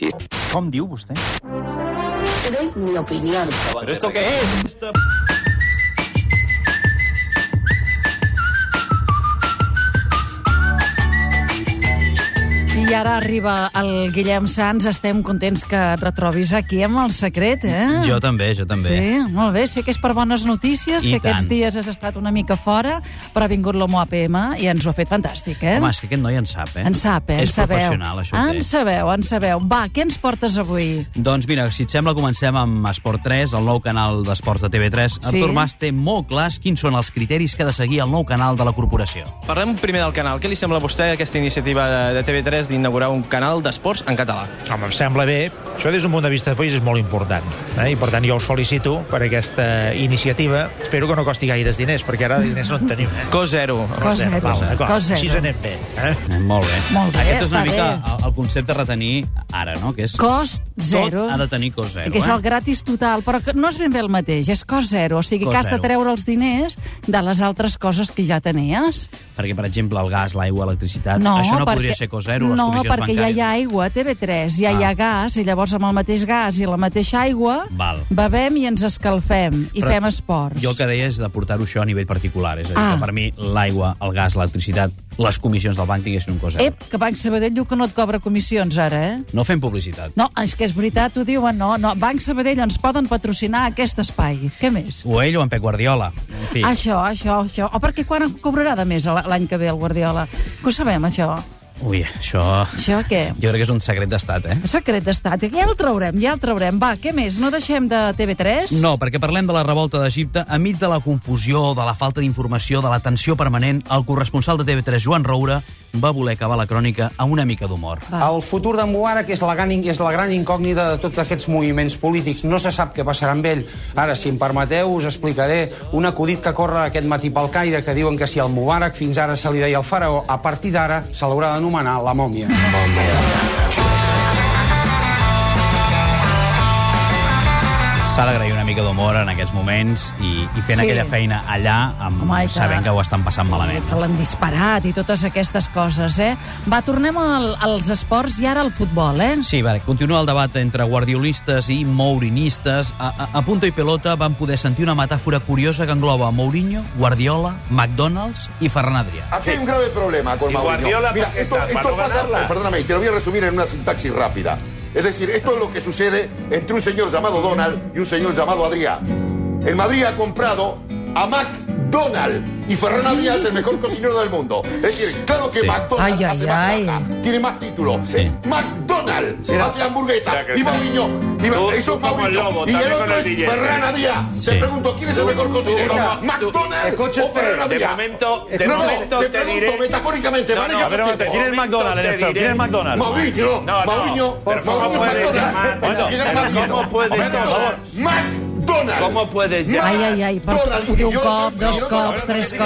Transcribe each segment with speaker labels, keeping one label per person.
Speaker 1: I...
Speaker 2: Com diu vostè?
Speaker 3: Te doy mi opinión.
Speaker 4: ¿Pero esto qué es?
Speaker 5: I ara arriba el Guillem Sans. Estem contents que et retrobis aquí amb el secret, eh?
Speaker 4: Jo també, jo també.
Speaker 5: Sí, molt bé. Sé que és per bones notícies,
Speaker 4: I
Speaker 5: que aquests
Speaker 4: tant.
Speaker 5: dies has estat una mica fora, però ha vingut l'Homo APM i ens ho ha fet fantàstic, eh?
Speaker 4: Home, és que aquest noi en sap, eh?
Speaker 5: en sap, eh? En
Speaker 4: És
Speaker 5: sabeu.
Speaker 4: professional, això ho
Speaker 5: En
Speaker 4: té.
Speaker 5: sabeu, en sabeu. Va, què ens portes avui?
Speaker 4: Doncs mira, si et sembla, comencem amb Esport 3, el nou canal d'esports de TV3.
Speaker 5: Sí.
Speaker 4: Artur Mas té molt clars quins són els criteris que ha de seguir el nou canal de la corporació.
Speaker 6: Parlem primer del canal. Què li sembla a vostè aquesta iniciativa de- de TV3 d'inaugurar un canal d'esports en català?
Speaker 7: Home, em sembla bé. Això des d'un punt de vista de país és molt important. Eh? I per tant jo els felicito per aquesta iniciativa. Espero que no costi gaires diners, perquè ara de diners no en tenim. Eh?
Speaker 6: Cos zero.
Speaker 5: Cos zero.
Speaker 7: Val, d'acord.
Speaker 5: Cos zero.
Speaker 7: Així anem bé. Eh?
Speaker 4: Eh, molt bé.
Speaker 5: Molt bé,
Speaker 4: Aquest és una
Speaker 5: està
Speaker 4: mica
Speaker 5: bé.
Speaker 4: el- el concepte a retenir ara, no? Que és
Speaker 5: Cost zero.
Speaker 4: Tot ha de tenir cost zero,
Speaker 5: que és
Speaker 4: eh?
Speaker 5: el gratis total, però que no és ben bé el mateix, és cost zero, o sigui
Speaker 4: Cost
Speaker 5: que has de
Speaker 4: zero.
Speaker 5: treure els diners de les altres coses que ja tenies.
Speaker 4: Perquè, per exemple, el gas, l'aigua, l'electricitat...
Speaker 5: No,
Speaker 4: això no
Speaker 5: perquè,
Speaker 4: podria ser cost zero, les
Speaker 5: no,
Speaker 4: comissions
Speaker 5: perquè ja
Speaker 4: bancàries.
Speaker 5: hi ha aigua a TV3, ja
Speaker 4: Ah.
Speaker 5: hi ha gas, i llavors amb el mateix gas i la mateixa aigua
Speaker 4: Val.
Speaker 5: bevem i ens escalfem i
Speaker 4: Però
Speaker 5: fem esports.
Speaker 4: Jo el que deia és de portar-ho això a nivell particular. És a dir,
Speaker 5: Ah.
Speaker 4: que per mi l'aigua, el gas, l'electricitat, les comissions del banc tinguessin un cost zero.
Speaker 5: Ep, que Banc Sabadell diu que no et cobra comissions ara, eh?
Speaker 4: No fem publicitat.
Speaker 5: No, és que és veritat, ho diuen, no, no. Banc Sabadell ens poden patrocinar aquest espai. Què més?
Speaker 4: O ell o en Pep Guardiola. En fi.
Speaker 5: Ah, Això, això, això. O perquè quan cobrarà de més l- l'any que ve el Guardiola? Que ho sabem, això?
Speaker 4: Ui, això...
Speaker 5: Això què?
Speaker 4: Jo crec que és un secret d'estat, eh?
Speaker 5: Secret d'estat. Ja el traurem, ja el traurem. Va, què més? No deixem de TV3?
Speaker 4: No, perquè parlem de la revolta d'Egipte. Enmig de la confusió, de la falta d'informació, de la tensió permanent, el corresponsal de TV3, Joan Roura, va voler acabar la crònica amb una mica d'humor.
Speaker 8: El futur d'en Mubarak és la, gran, és la gran incògnita de tots aquests moviments polítics. No se sap què passarà amb ell. Ara, si em permeteu, us explicaré un acudit que corre aquest matí pel Caire, que diuen que si al Mubarak fins ara se li deia el faraó, a partir d'ara se l'haurà d'anomenar la mòmia.
Speaker 4: S'ha d'agrair una mica d'humor en aquests moments i, i fent
Speaker 5: Sí.
Speaker 4: sí. aquella feina allà amb
Speaker 5: Home, i que-
Speaker 4: sabent que ho estan passant malament.
Speaker 5: que l'han disparat i totes aquestes coses, eh? Va, tornem al, als esports i ara al futbol, eh?
Speaker 4: Sí, va, continua el debat entre guardiolistes i mourinistes. A, a, a Punto i Pelota vam poder sentir una metàfora curiosa que engloba Mourinho, Guardiola, McDonald's i Ferran Adrià.
Speaker 9: Aquí hay un grave problema con Mourinho.
Speaker 10: Guardiola,
Speaker 9: Mira,
Speaker 10: ¿para qué
Speaker 9: esto,
Speaker 10: está? ¿Para
Speaker 9: esto
Speaker 10: no
Speaker 9: pasa,
Speaker 10: ganarla?
Speaker 9: perdóname, te lo voy a resumir en una sintaxis rápida. Es decir, esto es lo que sucede entre un señor llamado Donald y un señor llamado Adrián. El Madrid ha comprado a McDonald y Ferran Adrià es el mejor cocinero del mundo. Es decir, claro que
Speaker 4: Sí.
Speaker 9: McDonald
Speaker 5: Ay,
Speaker 9: hace
Speaker 5: ay,
Speaker 9: más
Speaker 5: ay.
Speaker 9: plata, tiene más títulos.
Speaker 4: Sí.
Speaker 9: McDonald hace hamburguesas
Speaker 10: Mira que-
Speaker 9: y Mourinho. y-
Speaker 10: Tú-
Speaker 9: eso es
Speaker 10: tú como el
Speaker 9: Mourinho.
Speaker 10: lobo,
Speaker 9: y el
Speaker 10: también con
Speaker 9: otro
Speaker 10: el
Speaker 9: es
Speaker 10: billete.
Speaker 9: Ferran Adrià.
Speaker 4: Sí.
Speaker 9: Te pregunto, ¿quién es el mejor cocinero?
Speaker 10: como- tú- este,
Speaker 9: ¿McDonald
Speaker 8: escucha
Speaker 9: o Ferran
Speaker 8: usted,
Speaker 10: De
Speaker 9: Adrià?
Speaker 10: momento, de
Speaker 9: No,
Speaker 10: momento
Speaker 9: te
Speaker 10: te,
Speaker 9: pregunto
Speaker 10: diré...
Speaker 9: metafóricamente,
Speaker 10: No,
Speaker 9: maneja
Speaker 10: no,
Speaker 9: tu
Speaker 10: pero
Speaker 9: tiempo.
Speaker 10: ¿quién es McDonald's en esto? ¿Quién es McDonald's?
Speaker 9: Mourinho,
Speaker 10: No, no,
Speaker 9: Mourinho,
Speaker 10: pero ¿cómo
Speaker 9: Mourinho
Speaker 10: puedes
Speaker 9: McDonald's.
Speaker 10: llamar-
Speaker 9: Es el que gana
Speaker 10: Bueno,
Speaker 9: más dinero.
Speaker 10: ¿cómo puedes
Speaker 9: McDonald's,
Speaker 10: llamar?
Speaker 9: McDonald's.
Speaker 10: ¿Cómo puedes llamar?
Speaker 5: Ai, ai, ai, per,
Speaker 9: McDonald's.
Speaker 5: un
Speaker 9: Y yo
Speaker 5: cop,
Speaker 9: soy-
Speaker 5: dos
Speaker 9: yo-
Speaker 5: cops, tres cops...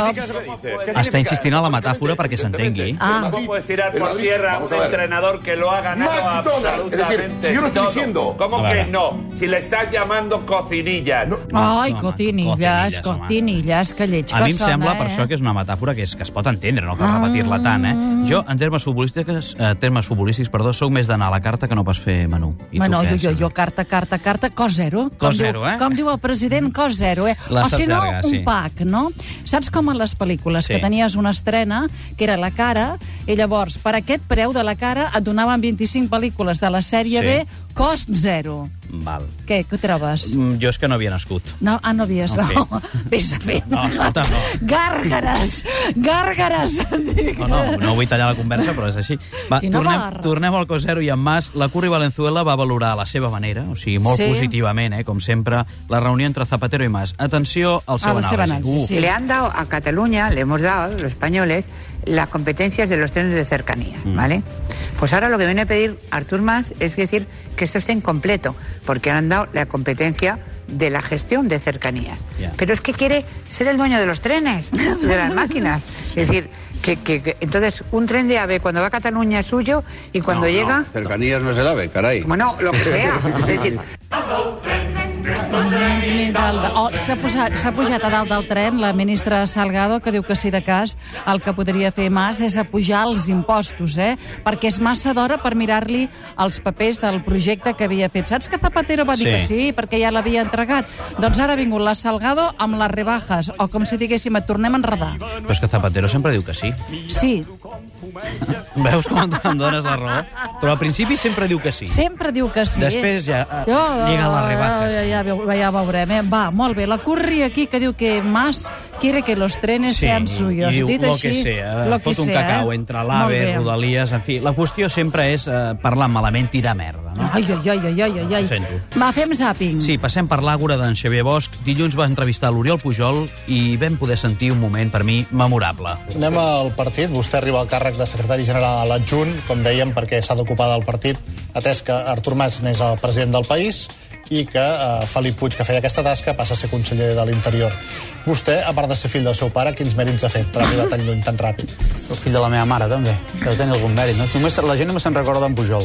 Speaker 4: Està insistint en la metàfora perquè s'entengui.
Speaker 5: Ah.
Speaker 10: ¿Cómo puedes tirar por tierra a
Speaker 9: Vamos
Speaker 10: un
Speaker 9: a ver.
Speaker 10: entrenador que lo ha ganado
Speaker 9: McDonald's.
Speaker 10: absolutamente
Speaker 9: Es decir, si yo no estoy
Speaker 10: todo?
Speaker 9: diciendo-
Speaker 10: ¿Cómo
Speaker 4: Vale.
Speaker 10: que no? Si le estás llamando cocinilla.
Speaker 5: Ai,
Speaker 4: No, home,
Speaker 5: cotinillas,
Speaker 4: cotinillas, home.
Speaker 5: cotinillas, que lleig que
Speaker 4: A mi em
Speaker 5: sona,
Speaker 4: sembla,
Speaker 5: eh?
Speaker 4: per això, que és una metàfora que, és, que es pot entendre, no cal repetir-la tant, eh?
Speaker 5: Mm.
Speaker 4: Jo, en termes futbolístics, eh, termes futbolístics perdó, sóc més d'anar a la carta que no pas fer menú. I tu
Speaker 5: Bueno,
Speaker 4: què,
Speaker 5: jo, jo,
Speaker 4: Xavi?
Speaker 5: jo, carta, carta, carta, cos zero. Com
Speaker 4: Cos zero,
Speaker 5: diu,
Speaker 4: eh?
Speaker 5: Com diu el president, cos zero, eh?
Speaker 4: La
Speaker 5: o si
Speaker 4: saps
Speaker 5: no,
Speaker 4: llarga, sí.
Speaker 5: un pack, no? Saps com en les pel·lícules,
Speaker 4: Sí.
Speaker 5: que tenies una estrena, que era la cara, i llavors, per aquest preu de la cara, et donaven 25 pel·lícules de la sèrie
Speaker 4: Sí.
Speaker 5: B, cost zero.
Speaker 4: Val.
Speaker 5: Què, què trobes?
Speaker 4: Mm, Jo és que no havia nascut.
Speaker 5: No, ah, no havies, no.
Speaker 4: No,
Speaker 5: Vés a fer.
Speaker 4: No, escolta, no.
Speaker 5: Gàrgares! Gàrgares!
Speaker 4: No, no, no vull tallar la conversa, però és així. Va,
Speaker 5: Quina
Speaker 4: tornem,
Speaker 5: barra.
Speaker 4: tornem al Cosero i en Mas. La Curri Valenzuela va valorar a la seva manera, o sigui, molt
Speaker 5: Sí.
Speaker 4: sí. positivament, eh, com sempre, la reunió entre Zapatero i Mas. Atenció al seu
Speaker 5: A la seva anàlisi, sí.
Speaker 4: Uh,
Speaker 11: Le han dado a Cataluña, le hemos dado, los españoles, las competencias de los trenes de cercanía,
Speaker 9: Mm.
Speaker 11: ¿vale? Pues ahora lo que viene a pedir Artur Mas es decir que esto esté incompleto, porque han dado la competencia de la gestión de cercanías.
Speaker 4: Ya.
Speaker 11: Pero es que quiere ser el dueño de los trenes, de las máquinas. Es decir, que, que- que- entonces un tren de AVE cuando va a Cataluña es suyo y cuando llega,
Speaker 1: Cercanías no se lave, carai.
Speaker 11: bueno, lo que sea. Es decir,
Speaker 5: Dalt de- Oh, S'ha posat- s'ha pujat a dalt del tren la ministra Salgado, que diu que si de cas el que podria fer Mas és apujar els impostos, eh? Perquè és massa d'hora per mirar-li els papers del projecte que havia fet. Saps que Zapatero va dir
Speaker 4: Sí.
Speaker 5: que sí, perquè ja l'havia entregat? Doncs ara ha vingut la Salgado amb les rebajas, o com si diguéssim, et tornem a enredar.
Speaker 4: Però és que Zapatero sempre diu que sí.
Speaker 5: Sí,
Speaker 4: Veus com em dones la raó? Però al principi sempre diu que sí.
Speaker 5: Sempre diu que sí.
Speaker 4: Després ja, eh, lleguen les rebajas.
Speaker 5: Ja, ja, veu- ja veurem. Eh? Va, molt bé. La Curri aquí que diu que Mas quiere que los trenes
Speaker 4: Sí,
Speaker 5: sean suyos.
Speaker 4: i diu
Speaker 5: Dit
Speaker 4: lo
Speaker 5: així,
Speaker 4: que sea,
Speaker 5: lo
Speaker 4: fot
Speaker 5: que
Speaker 4: un
Speaker 5: sea,
Speaker 4: cacau
Speaker 5: eh?
Speaker 4: entre
Speaker 5: Molt
Speaker 4: l'AVE,
Speaker 5: bé.
Speaker 4: Rodalies, en fi. La qüestió sempre és eh, parlar malament, tirar merda, no?
Speaker 5: Ai, ai, ai, ai, ai, ai,
Speaker 4: Ho
Speaker 5: ai.
Speaker 4: sento.
Speaker 5: Va, fem zàping.
Speaker 4: Sí, passem per l'àgora d'en Xavier Bosch. Dilluns va entrevistar l'Oriol Pujol i vam poder sentir un moment, per mi, memorable.
Speaker 1: Anem al partit. Vostè arriba al càrrec de secretari general adjunt, com dèiem, perquè s'ha d'ocupar del partit, atès que Artur Mas n'és el president del país i que eh, Felip Puig, que feia aquesta tasca, passa a ser conseller de l'Interior. Vostè, a part de ser fill del seu pare, quins mèrits ha fet per arribar tan lluny tan ràpid?
Speaker 2: El fill de la meva mare, també. Deu tenir algun mèrit, no? Només, la gent només se'n recorda d'en Pujol.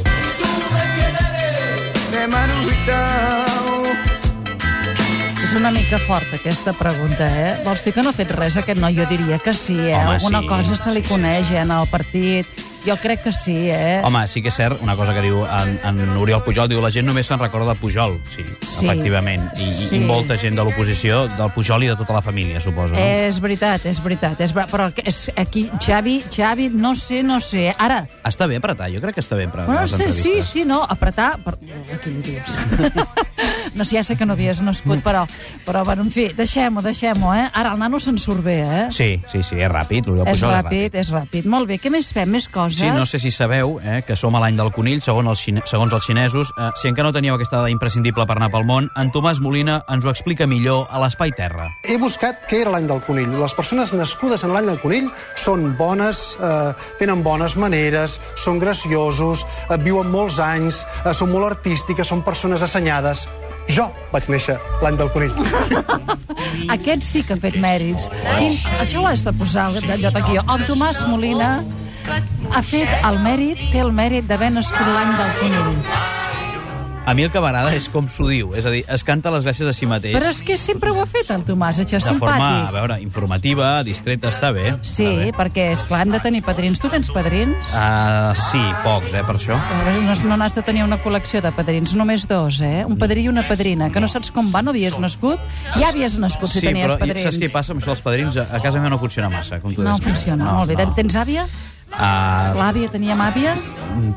Speaker 5: És una mica forta, aquesta pregunta, eh? Vols dir que no ha fet res, aquest noi? Jo diria que sí, eh?
Speaker 4: Home,
Speaker 5: Alguna
Speaker 4: sí,
Speaker 5: cosa se li
Speaker 4: sí,
Speaker 5: coneix, eh, en el partit. Jo crec que sí, eh?
Speaker 4: Home, sí que és cert, una cosa que diu en, en Oriol Pujol, diu la gent només se'n recorda de Pujol. Sí,
Speaker 5: Sí.
Speaker 4: efectivament. I,
Speaker 5: Sí.
Speaker 4: I molta gent de l'oposició, del Pujol i de tota la família, suposo. No?
Speaker 5: És veritat, és veritat. És, ver- però que- és, aquí, Xavi, Xavi, no sé, no sé. Ara,
Speaker 4: Està bé apretar, jo crec que està bé apretar
Speaker 5: Bueno,
Speaker 4: les
Speaker 5: Ah, sí, sí,
Speaker 4: entrevistes.
Speaker 5: sí, no, apretar... Per... Aquí li dius. no sé, ja sé que no havies nascut, però, però bueno, en fi, deixem-ho, deixem-ho, eh? Ara el nano se'n surt bé, eh?
Speaker 4: Sí, sí, sí, és ràpid, l'Oriol
Speaker 5: és
Speaker 4: Pujol és
Speaker 5: ràpid, és ràpid. Molt bé, què més fem? Més coses?
Speaker 4: Sí, no sé si sabeu eh, que som a l'any del conill, segons els, xine segons els xinesos. Eh, si encara no teníeu aquesta dada imprescindible per anar pel món, en Tomàs Molina ens ho explica millor a l'Espai Terra.
Speaker 12: He buscat què era l'any del conill. Les persones nascudes en l'any del conill són bones, eh, tenen bones maneres, són graciosos, eh, viuen molts anys, eh, són molt artístiques, són persones assenyades. Jo vaig néixer l'any del conill.
Speaker 5: Aquest sí que ha fet mèrits. Quin... Això ho has de posar de- de- de aquí. El Tomàs Molina ha fet el mèrit, té el mèrit d'haver nascut l'any del conill.
Speaker 4: A mi el que m'agrada és com s'ho diu, és a dir, es canta les gràcies a si mateix.
Speaker 5: Però és que sempre ho ha fet el Tomàs, això és
Speaker 4: de
Speaker 5: simpàtic.
Speaker 4: forma, eh? a veure, informativa, distreta, està bé.
Speaker 5: Sí, perquè, és clar, hem de tenir padrins. Tu tens padrins?
Speaker 4: Uh, sí, pocs, eh, per això.
Speaker 5: No, no n'has de tenir una col·lecció de padrins, només dos, eh? Un padrí i una padrina, que no saps com va, no havies nascut? Ja havies nascut si
Speaker 4: sí,
Speaker 5: tenies
Speaker 4: però
Speaker 5: padrins.
Speaker 4: saps què passa amb això dels padrins? A a casa meva no funciona massa, com tu
Speaker 5: No
Speaker 4: deies.
Speaker 5: funciona, no, molt bé.
Speaker 4: No.
Speaker 5: Tens àvia?
Speaker 4: Uh,
Speaker 5: L'àvia teníem àvia?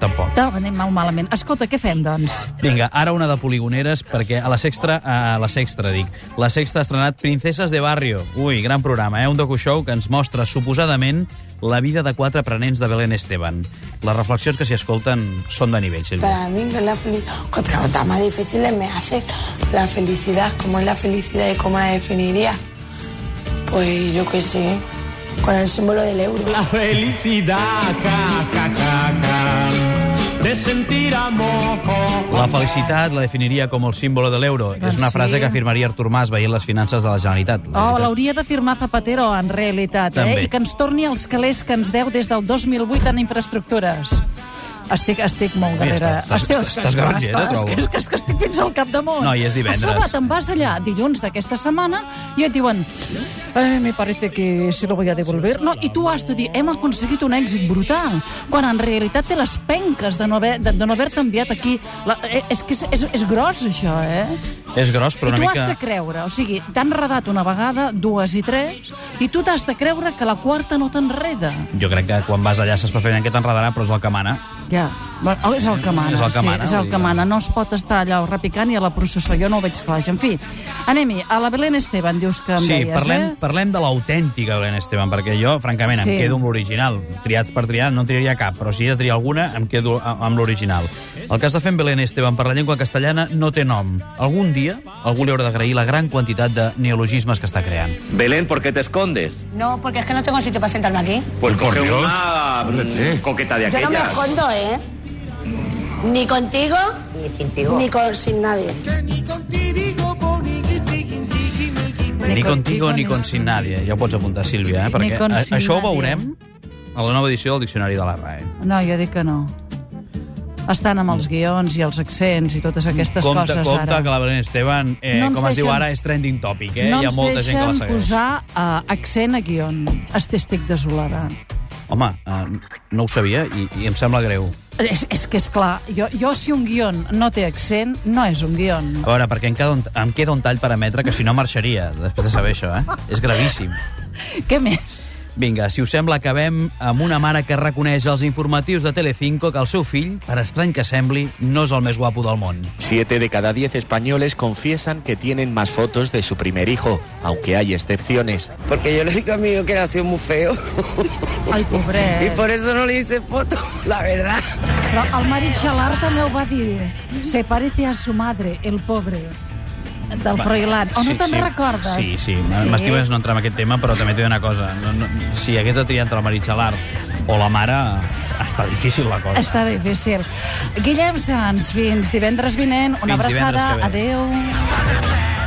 Speaker 4: tampoc.
Speaker 5: Tal, anem molt malament. Escolta, què fem, doncs?
Speaker 4: Vinga, ara una de poligoneres, perquè a la sexta, a la sexta, dic, la sexta ha estrenat Princeses de Barrio. Ui, gran programa, eh? Un docu-show que ens mostra, suposadament, la vida de quatre aprenents de Belén Esteban. Les reflexions que s'hi escolten són de nivell, Sílvia.
Speaker 13: Para mí, que la feliz... ¿Qué preguntas más difíciles me hace la felicidad? ¿Cómo es la felicidad y cómo la definiría? Pues yo qué sé, con el símbolo del euro.
Speaker 14: La felicidad, ja, ja, ja, ja, de sentir amor.
Speaker 4: La felicitat la definiria com el símbol de l'euro.
Speaker 5: Doncs
Speaker 4: És una frase
Speaker 5: sí.
Speaker 4: que afirmaria Artur Mas veient les finances de la Generalitat.
Speaker 5: Oh, l'hauria de firmar Zapatero, en realitat,
Speaker 4: També.
Speaker 5: eh? I que ens torni els calés que ens deu des del 2008 en infraestructures. Estic, estic molt
Speaker 4: Mira,
Speaker 5: darrere.
Speaker 4: estàs-
Speaker 5: Estic-
Speaker 4: estàs- estàs garantida,
Speaker 5: estàs-
Speaker 4: trobo.
Speaker 5: és que- és que estic fins al capdamunt.
Speaker 4: No, i és divendres.
Speaker 5: A sobre te'n vas allà dilluns d'aquesta setmana i et diuen eh, me parece que se lo voy a devolver. No, i tu has de dir, hem aconseguit un èxit brutal, quan en realitat té les penques de no haver- de- de no haver-te no haver enviat aquí. La, eh, és que és, és, és gros, això, eh?
Speaker 4: És gros, però
Speaker 5: I
Speaker 4: una
Speaker 5: tu
Speaker 4: mica...
Speaker 5: has de creure, o sigui, t'han redat una vegada, dues i tres, i tu t'has de creure que la quarta no t'enreda.
Speaker 4: Jo crec que quan vas allà saps perfectament que t'enredarà, però és el que mana.
Speaker 5: Ja. Bueno, oh, és el que mana,
Speaker 4: És el que mana,
Speaker 5: sí, és el
Speaker 4: vull
Speaker 5: que
Speaker 4: dir.
Speaker 5: mana. No es pot estar allà repicant i a la processó, jo no ho veig clar. això. En fi, anem-hi. A la Belén Esteban dius que em
Speaker 4: Sí,
Speaker 5: deies,
Speaker 4: parlem,
Speaker 5: eh?
Speaker 4: parlem de l'autèntica Belén Esteban, perquè jo, francament,
Speaker 5: Sí.
Speaker 4: em quedo amb l'original. Triats per triar, no en triaria cap, però si he de triar alguna, em quedo a- amb l'original. El que està fent Belén Esteban per la llengua castellana no té nom. Algun dia algú li haurà d'agrair la gran quantitat de neologismes que està creant.
Speaker 15: Belén, ¿por qué te escondes?
Speaker 3: No, porque es que no tengo sitio para sentarme aquí.
Speaker 15: Pues coge una mm, coqueta de
Speaker 3: Yo no me
Speaker 15: aquellas.
Speaker 3: escondo, ¿eh? Ni contigo, ni con sin nadie.
Speaker 4: Ni contigo ni con sin nadie. Ja ho pots apuntar, Sílvia, eh?
Speaker 5: Ni
Speaker 4: perquè
Speaker 5: con
Speaker 4: a-
Speaker 5: sin
Speaker 4: això ho
Speaker 5: nadie.
Speaker 4: veurem a la nova edició del Diccionari de la RAE.
Speaker 5: No, jo dic que no. estan amb els guions i els accents i totes aquestes
Speaker 4: Mm. Compte,
Speaker 5: coses
Speaker 4: compte
Speaker 5: ara.
Speaker 4: que la Belén Esteban, eh,
Speaker 5: No ens
Speaker 4: com es diu
Speaker 5: deixen-
Speaker 4: ara, és trending topic, eh?
Speaker 5: no
Speaker 4: Hi ha
Speaker 5: ens
Speaker 4: molta gent
Speaker 5: deixen
Speaker 4: que la segueix.
Speaker 5: posar uh, accent a guion. Este estic desolada.
Speaker 4: Home, eh, no ho sabia i, i em sembla greu.
Speaker 5: És, és que, és clar, jo, jo si un guion no té accent, no és un guion.
Speaker 4: A veure, perquè em queda un, em queda un tall per emetre que si no marxaria, després de saber això, eh? És gravíssim.
Speaker 5: Què més?
Speaker 4: Vinga, si us sembla, acabem amb una mare que reconeix als informatius de Telecinco que el seu fill, per estrany que sembli, no és el més guapo del món.
Speaker 16: Siete de cada diez españoles confiesan que tienen más fotos de su primer hijo, aunque hay excepciones.
Speaker 17: Porque yo le digo a mi hijo que nació muy feo.
Speaker 5: Ay, pobre.
Speaker 17: Y por eso no le hice foto, la verdad.
Speaker 5: Però el marit Xalar també ho va dir. Se parece a su madre, el pobre. Del
Speaker 4: Va,
Speaker 5: Froilán. O no te'n recordes?
Speaker 4: Sí, sí. sí. M'estimes no entrar en aquest tema, però també t'he de dir una cosa. No, no, si hagués de triar entre la Maritxalar o la mare, està difícil la cosa.
Speaker 5: Està difícil. Guillem Sans, fins divendres vinent. Una
Speaker 4: Fins divendres
Speaker 5: abraçada.
Speaker 4: que ve.
Speaker 5: Adéu.